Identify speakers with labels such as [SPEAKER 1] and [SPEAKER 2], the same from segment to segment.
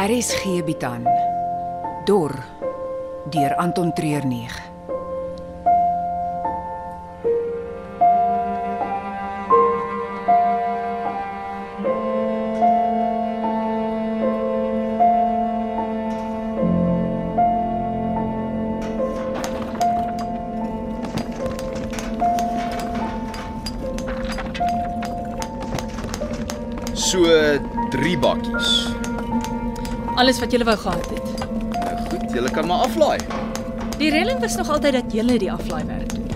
[SPEAKER 1] RSG bied aan Dor deur Anton Treuer 9.
[SPEAKER 2] So 3 bakkies.
[SPEAKER 3] Alles wat jy wou gehad het.
[SPEAKER 2] Nou goed, julle kan maar aflaai.
[SPEAKER 3] Die reëling was nog altyd dat jy die aflaai werk doen.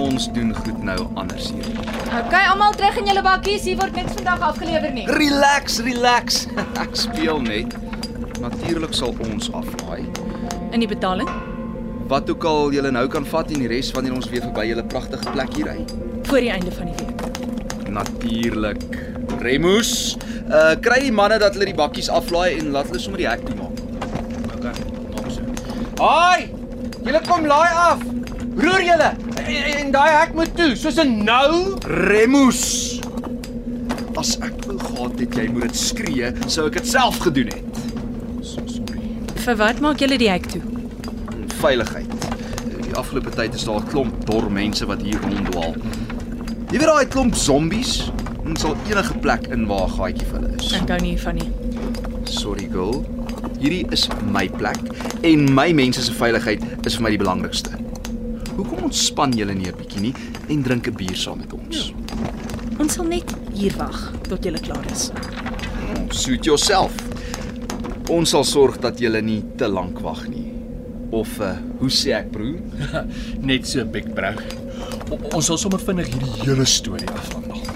[SPEAKER 2] Ons doen goed nou anders hier.
[SPEAKER 3] OK, almal terug in julle bakkies. Hier word niks vandag afgelewer nie.
[SPEAKER 2] Relax, relax. Ek speel net. Natuurlik sal ons aflaai.
[SPEAKER 3] In die betaling?
[SPEAKER 2] Wat ook al julle nou kan vat en die res wanneer ons weer verby julle pragtige plek hier ry.
[SPEAKER 3] Voor die einde van die week.
[SPEAKER 2] Natuurlik. Remus, uh kry die manne dat hulle die bakkies aflaai en laat hulle sommer die hek toemaak. OK, maak so. Haai! Julle kom laai af. Roer julle.
[SPEAKER 4] En, en daai hek moet toe, soos 'n nou.
[SPEAKER 2] Remus. As ek wou gehad het jy moet dit skree, sou ek dit self gedoen het. So sorry.
[SPEAKER 3] Vir wat maak julle die hek toe?
[SPEAKER 2] In veiligheid. Die afgelope tyd is daar 'n klomp dor mense wat hier ronddwaal. Jy weet daai klomp zombies, ons sal enige plek in waar 'n gaatjie vir hulle is.
[SPEAKER 3] Ek hou nie van nie.
[SPEAKER 2] Sorry girl. Hierdie is my plek en my mense se veiligheid is vir my die belangrikste. Hoekom ontspan julle nie 'n bietjie nie en drink 'n bier saam met ons?
[SPEAKER 3] Ons sal net hier wag tot julle klaar is.
[SPEAKER 2] Suit jouself. Ons sal sorg dat jy nie te lank wag nie. Of uh, hoe sê ek broer?
[SPEAKER 4] Net so big bro. O, ons sal sommer vinnig hierdie hele storie afhandel.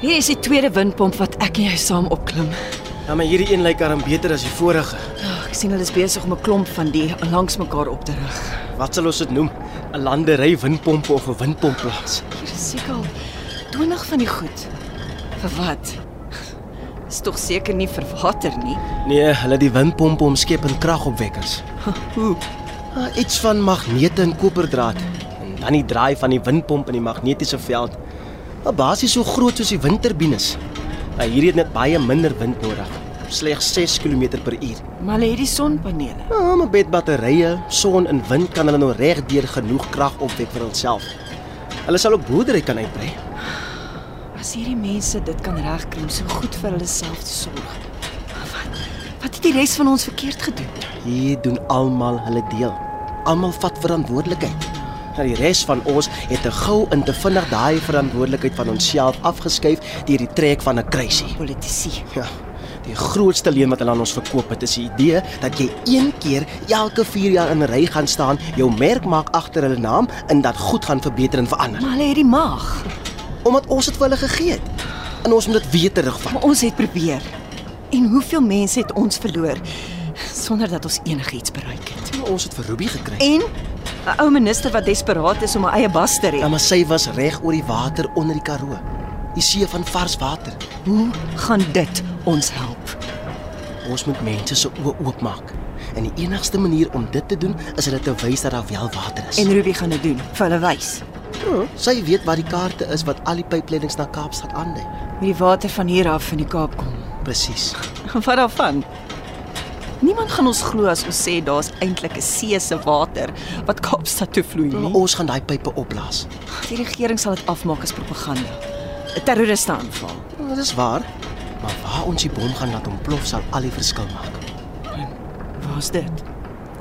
[SPEAKER 5] Hier is die tweede windpomp wat ek en jy saam opklim.
[SPEAKER 6] Ja, maar hierdie een lyk darem beter as die vorige.
[SPEAKER 5] Ag, ek sien hulle is besig om 'n klomp van die langs mekaar op te rig.
[SPEAKER 6] Wat sal ons dit noem? 'n Landery windpompe of 'n windpompplaas?
[SPEAKER 5] Hier is seker al 20 van die goed. Vir wat? Is tog seker nie vir water nie.
[SPEAKER 6] Nee, hulle het die windpompe omskep in kragopwekkers.
[SPEAKER 5] Hoe?
[SPEAKER 6] Ah, iets van magnete en koperdraad en dan die draai van die windpomp in die magnetiese veld. Maar basies so groot soos die windturbines. Nou hierdie het net baie minder wind nodig. Slegs 6 km/h.
[SPEAKER 5] Maar hulle het die sonpanele.
[SPEAKER 6] Ja, maar met batterye, son en wind kan hulle nou regdeur genoeg krag opwek vir hulself. Hulle sal ook boerdery kan uitbrei.
[SPEAKER 5] As hierdie mense dit kan regkry om so goed vir hulle self te sorg. Maar Wat? Wat het die res van ons verkeerd gedoen?
[SPEAKER 6] Hier doen almal hulle deel. Almal vat verantwoordelikheid. Nou die res van ons het te gou en te vinnig daai verantwoordelikheid van onsself afgeskuif deur die trek van 'n kruisie.
[SPEAKER 5] Politici.
[SPEAKER 6] Ja. Die grootste leuen wat hulle aan ons verkoop het is die idee dat jy een keer elke 4 jaar in 'n ry gaan staan, jou merk maak agter hulle naam en dat goed gaan verbeter en verander.
[SPEAKER 5] Maar hulle het die mag.
[SPEAKER 6] omdat ons dit vir hulle gegee het. En ons moet dit weer terugvat.
[SPEAKER 5] Maar ons het probeer. En hoeveel mense het ons verloor sonder dat ons enigiets bereik het?
[SPEAKER 6] Ons het vir Ruby gekry.
[SPEAKER 5] En 'n ou minister wat desperaat is om 'n eie bas te
[SPEAKER 6] Ja,
[SPEAKER 5] red.
[SPEAKER 6] maar sy was reg oor die water onder die Karoo. Die see van vars water.
[SPEAKER 5] Hoe gaan dit ons help?
[SPEAKER 6] Ons moet mense se oë oopmaak. En die enigste manier om dit te doen is hulle te wys dat daar wel water is.
[SPEAKER 5] En Ruby gaan dit doen vir hulle wys.
[SPEAKER 6] oh, sy weet waar die kaarte is wat al die pypleidings na Kaapstad aandui.
[SPEAKER 5] Hoe die water van hier af in die Kaap kom.
[SPEAKER 6] Presies.
[SPEAKER 5] Wat daarvan? Niemand gaan ons glo as ons sê daar's eintlik 'n see se water wat Kaapstad toe vloei
[SPEAKER 6] Maar
[SPEAKER 5] nie.
[SPEAKER 6] ons gaan daai pype opblaas.
[SPEAKER 5] Die regering sal dit afmaak as propaganda. 'n Terroriste aanval.
[SPEAKER 6] Oh, dit is waar. Maar waar ons die bom gaan laat ontplof sal al die verskil maak.
[SPEAKER 5] Waar's dit?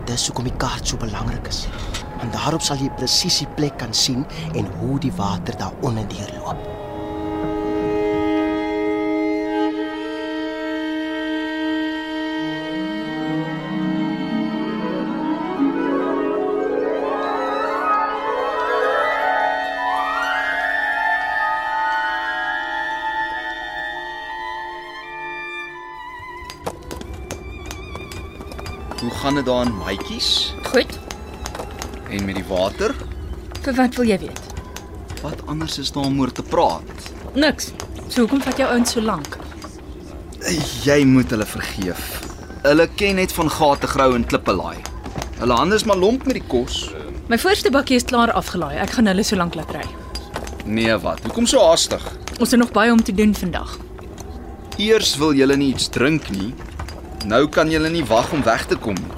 [SPEAKER 6] Dis hoekom die kaart so belangrik is. Want daarop sal jy presies die plek kan sien en hoe die water daaronder deurloop.
[SPEAKER 2] Hoe gaan dit daar in maatjies
[SPEAKER 3] Goed.
[SPEAKER 2] en met die water?
[SPEAKER 3] Vir wat wil jy weet?
[SPEAKER 2] Wat anders is daar om oor te praat?
[SPEAKER 3] Niks.
[SPEAKER 7] So hoekom vat jou ouens so lank?
[SPEAKER 2] Jy moet hulle vergeef. Hulle ken net van gate grou en klippe laai. Hulle hande is maar lomp met die kos.
[SPEAKER 7] My voorste bakkie is klaar afgelaai. Ek gaan hulle so lank laat ry.
[SPEAKER 2] Nee, wat? Hoekom so haastig?
[SPEAKER 7] Ons het nog baie om te doen vandag.
[SPEAKER 2] Eers wil julle nie iets drink nie. Nou kan julle nie wag om weg te kom nie.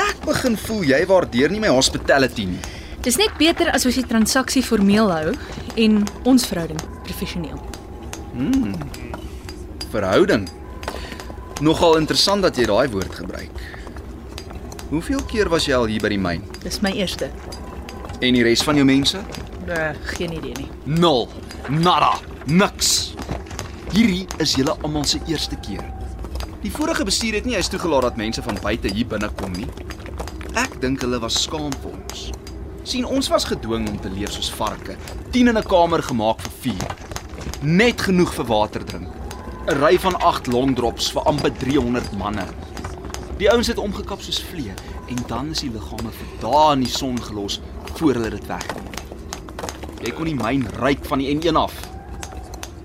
[SPEAKER 2] Ek begin voel jy waardeer nie my hospitality nie.
[SPEAKER 7] Dis net beter as ons die transaksie formeel hou en ons verhouding professioneel.
[SPEAKER 2] Verhouding. Nogal interessant dat jy daai woord gebruik. Hoeveel keer was jy al hier by die myn?
[SPEAKER 7] Dis my eerste.
[SPEAKER 2] En die res van jou mense?
[SPEAKER 7] Uh, geen idee nie.
[SPEAKER 2] Nul. Nada. Niks. Hierdie is julle almal se eerste keer. Die vorige bestuur het nie eens toegelaat dat mense van buite hier binne kom nie. Ek dink hulle was skaam vir ons. sien ons was gedwing om te leef soos varke, 10 in 'n kamer gemaak vir 4. Net genoeg vir water drink. 'n Ry van 8 longdrops vir amper 300 manne. Die ouens het omgekap soos vlee en dan is die liggame vir dae in die son gelos voor hulle dit wegneem. Jy kon die myn ryk van die N1 af.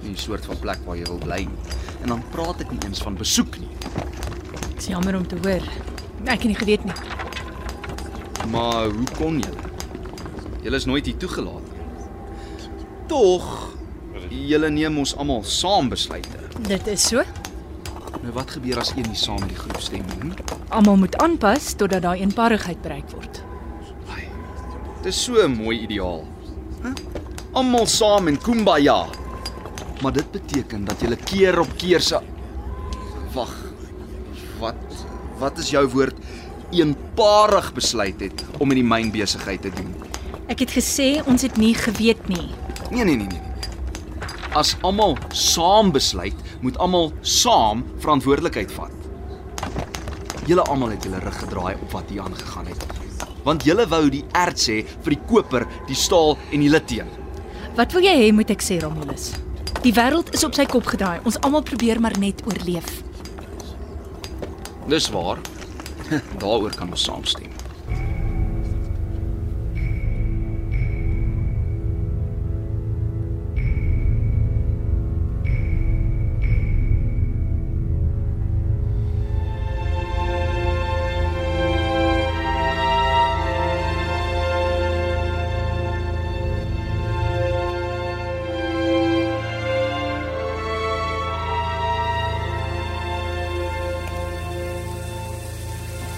[SPEAKER 2] Nie 'n soort van plek waar jy wil bly nie. En dan praat ek nie eens van besoek nie.
[SPEAKER 7] Dis jammer om te hoor. Ek het nie geweet nie.
[SPEAKER 2] Maar hoe kon jy? Jy is nooit hier toegelaat nie. Tog julle neem ons almal saam besluite.
[SPEAKER 7] Dit is so.
[SPEAKER 2] Nou wat gebeur as een nie saam met die groep stem nie? hm?
[SPEAKER 7] Almal moet aanpas totdat daai eenparigheid bereik word.
[SPEAKER 2] Ai, Dis so 'n mooi ideaal. Hè? Almal saam en kumbaya. Maar dit beteken dat jy keer op keer se wag. Wat wat is jou woord eenparig besluit het om in die myn besigheid te doen?
[SPEAKER 7] Ek het gesê ons het nie geweet nie.
[SPEAKER 2] Nee nee nee nee. nee. As almal saam besluit, moet almal saam verantwoordelikheid vat. Julle almal het julle rug gedraai op wat hier aangegaan het. Want julle wou die erts hê vir die koper, die staal en die lithium.
[SPEAKER 7] Wat wil jy hê moet ek sê Romulus? Die wêreld is op sy kop gedraai. Ons almal probeer maar net oorleef.
[SPEAKER 2] Dis waar. Daaroor kan ons saamstem.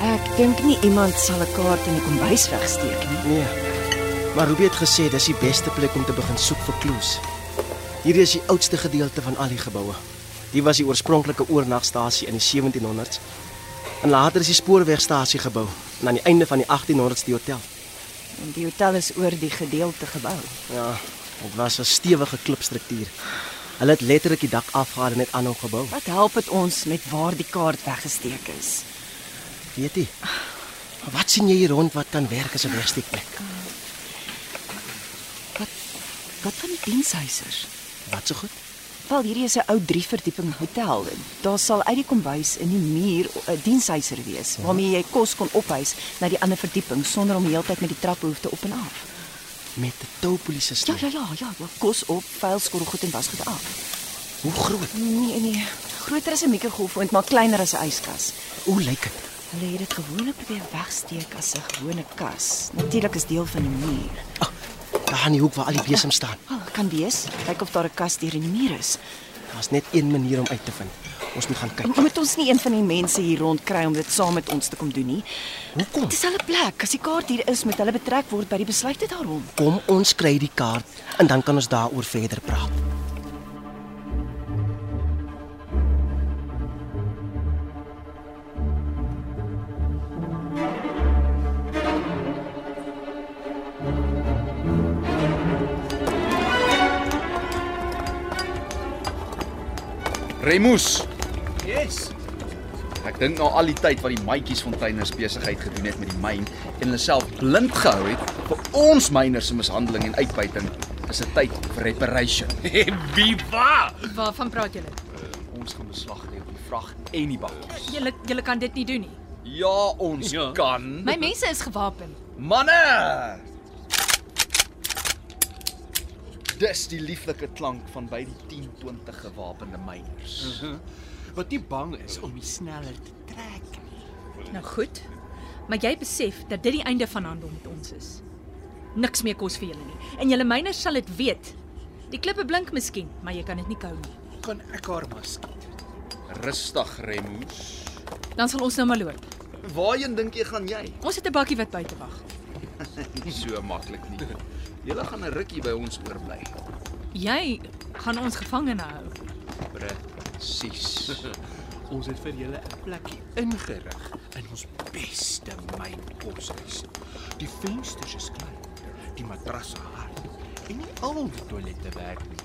[SPEAKER 5] Ek dink nie iemand sal 'n kaart in die kombuis wegsteek nie.
[SPEAKER 6] Nee. Maar Ruby het gesê dis die beste plek om te begin soek vir kloes. Hierdie is die oudste gedeelte van al die geboue. Hier was die oorspronklike oornagstasie in die 1700s. En later is die spoorwegstasie gebou en aan die einde van die 1800s die hotel.
[SPEAKER 5] En die hotel is oor die gedeelte gebou.
[SPEAKER 6] Ja, dit was 'n stewige klipstruktuur. Hulle het letterlik die dak afgehaal en net aanhou gebou.
[SPEAKER 5] Wat help dit ons met waar die kaart weggesteek is?
[SPEAKER 6] Weet jy? Wat sien jy hier rond wat kan werk as 'n wegsteekplek?
[SPEAKER 5] Wat van die dienshuisers?
[SPEAKER 6] Wat so goed?
[SPEAKER 5] Wel, hierdie is 'n ou 3-verdieping hotel. Daar sal uit die kombuis in die muur 'n dienshuiser wees waarmee jy kos kon ophuis na die ander verdieping sonder om heeltyd met die trappe hoef te op en af.
[SPEAKER 6] Met 'n toupolisie.
[SPEAKER 5] Ja, ja, ja, ja, ja, kos op, vuil skorrelgoed en wasgoed af.
[SPEAKER 6] Hoe groot?
[SPEAKER 5] Nee, nee, groter as 'n mikrogolfoond, maar kleiner as 'n yskas.
[SPEAKER 6] Hoe lyk dit?
[SPEAKER 5] Hulle het dit gewoonlik probeer wegsteek as 'n gewone kas. Natuurlik is deel van die muur.
[SPEAKER 6] Ah, daar in die hoek waar al die besems staan.
[SPEAKER 5] Wel, kan wees. Kyk of daar 'n kas deur in die muur is.
[SPEAKER 6] Daar's net een manier om uit te vind. Ons moet gaan kyk.
[SPEAKER 5] Moet ons nie een van die mense hier rond kry om dit saam met ons te kom doen nie.
[SPEAKER 6] Hoekom?
[SPEAKER 5] Dit is hulle plek. As die kaart hier is, moet hulle betrek word by die besluite daaroor.
[SPEAKER 6] Kom ons kry die kaart en dan kan ons daaroor verder praat.
[SPEAKER 2] Remus. Yes. Ek dink na al die tyd wat die maatjies van Tuiners besigheid gedoen het met die myn en hulle self blind gehou het vir ons myners se mishandeling en uitbuiting, is dit tyd vir reparation.
[SPEAKER 4] Viva!
[SPEAKER 7] Waarvan praat julle?
[SPEAKER 2] ons gaan beslag lê op die vrag en die bakkies.
[SPEAKER 7] Julle julle kan dit nie doen nie.
[SPEAKER 2] Ja, ons ja.
[SPEAKER 4] Ja.
[SPEAKER 2] kan.
[SPEAKER 7] My mense is gewapen.
[SPEAKER 2] Manne! Dis die lieflike klank van by die 10-20 gewapende myners.
[SPEAKER 4] Wat nie bang is om die sneller te
[SPEAKER 7] Nou goed. Maar jy besef dat dit die einde van handel met ons is. Niks meer kos vir julle nie en julle myners sal dit weet. Die klippe blink miskien, maar jy kan dit nie kou nie.
[SPEAKER 4] kan ek haar maar skiet.
[SPEAKER 2] Rustig, Remus.
[SPEAKER 7] Dan sal ons nou maar loop.
[SPEAKER 2] Waarheen dink jy gaan jy?
[SPEAKER 7] Ons het 'n bakkie wat buite wag.
[SPEAKER 2] Nie so maklik nie. Julle gaan 'n rukkie by ons oorbly.
[SPEAKER 7] Jy gaan ons gevangene hou.
[SPEAKER 2] Presies.
[SPEAKER 4] Ons het vir julle 'n plekkie ingerig in ons beste mynkoshuis. Die vensters is klein, die matrasse hard en nie al die toilette werk nie.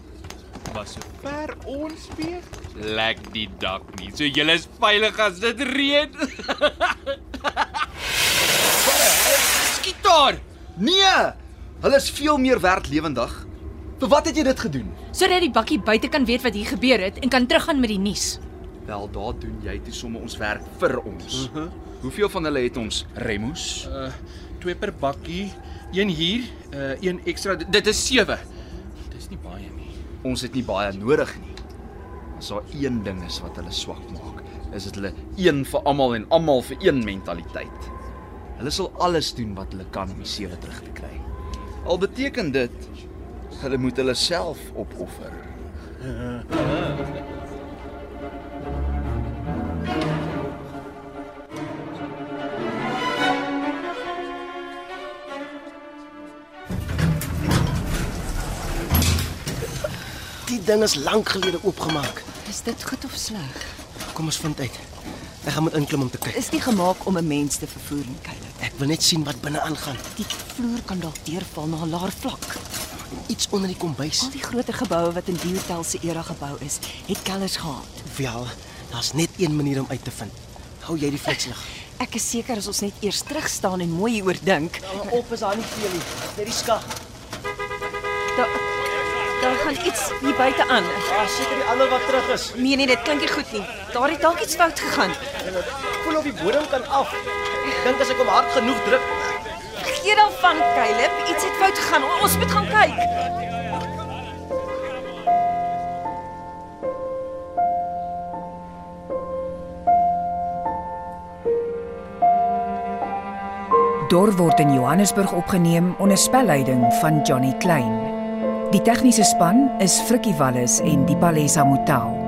[SPEAKER 4] Maar sover ons weet, lek die dak nie. So julle is veilig as dit reën.
[SPEAKER 2] Skiet daar. Nee! Hulle is veel meer werd lewendig. Vir wat het jy dit gedoen?
[SPEAKER 7] Sodat die bakkie buite kan weet wat hier gebeur het en kan teruggaan met die nuus.
[SPEAKER 2] Wel, daar doen jy toe somme ons werk vir ons. Uh -huh. Hoeveel van hulle het ons Remus?
[SPEAKER 4] Uh twee per bakkie, een hier, uh een ekstra. Dit is 7. Dis nie baie nie.
[SPEAKER 2] Ons het nie baie nodig nie. As daar een ding is wat hulle swak maak, is dit hulle een vir almal en almal vir een mentaliteit. Hulle sal alles doen wat hulle kan om die sewe terug te kry. Al beteken dit hulle moet hulle self opoffer.
[SPEAKER 6] Die ding is lank gelede oopgemaak.
[SPEAKER 5] Is dit goed of sleg?
[SPEAKER 6] Kom ons vind uit. Ek gaan moet inklim om te kyk.
[SPEAKER 5] Is nie gemaak om 'n mens te vervoer nie, Kylie.
[SPEAKER 6] Ek wil net sien wat binne aangaan.
[SPEAKER 5] Die vloer kan dalk deurval na 'n laer vlak.
[SPEAKER 6] Iets onder die kombuis.
[SPEAKER 5] Al die groter geboue wat in Diertel se era gebou is, het kellers gehad.
[SPEAKER 6] Wel, daar's net een manier om uit te vind. Hou jy die flitslig.
[SPEAKER 5] Ek is seker as ons net eers terug staan en mooi hieroor dink,
[SPEAKER 6] Op is daar nie veel nie. Net die skag.
[SPEAKER 5] dan dan gaan iets hier buite aan.
[SPEAKER 6] Ja, seker die ander wat terug is.
[SPEAKER 5] Nee nee, dit klink nie goed nie. Daar het dalk iets fout gegaan.
[SPEAKER 6] Ek voel of die bodem kan af. Ek dink as ek hom hard genoeg druk,
[SPEAKER 5] Gee dan van Caleb, iets het fout gegaan. O- Ons moet gaan kyk.
[SPEAKER 1] Dor word in Johannesburg opgeneem onder spelleiding van Johnny Klein. Die tegniese span is Frikkie Wallis en Dipalesa Motelo.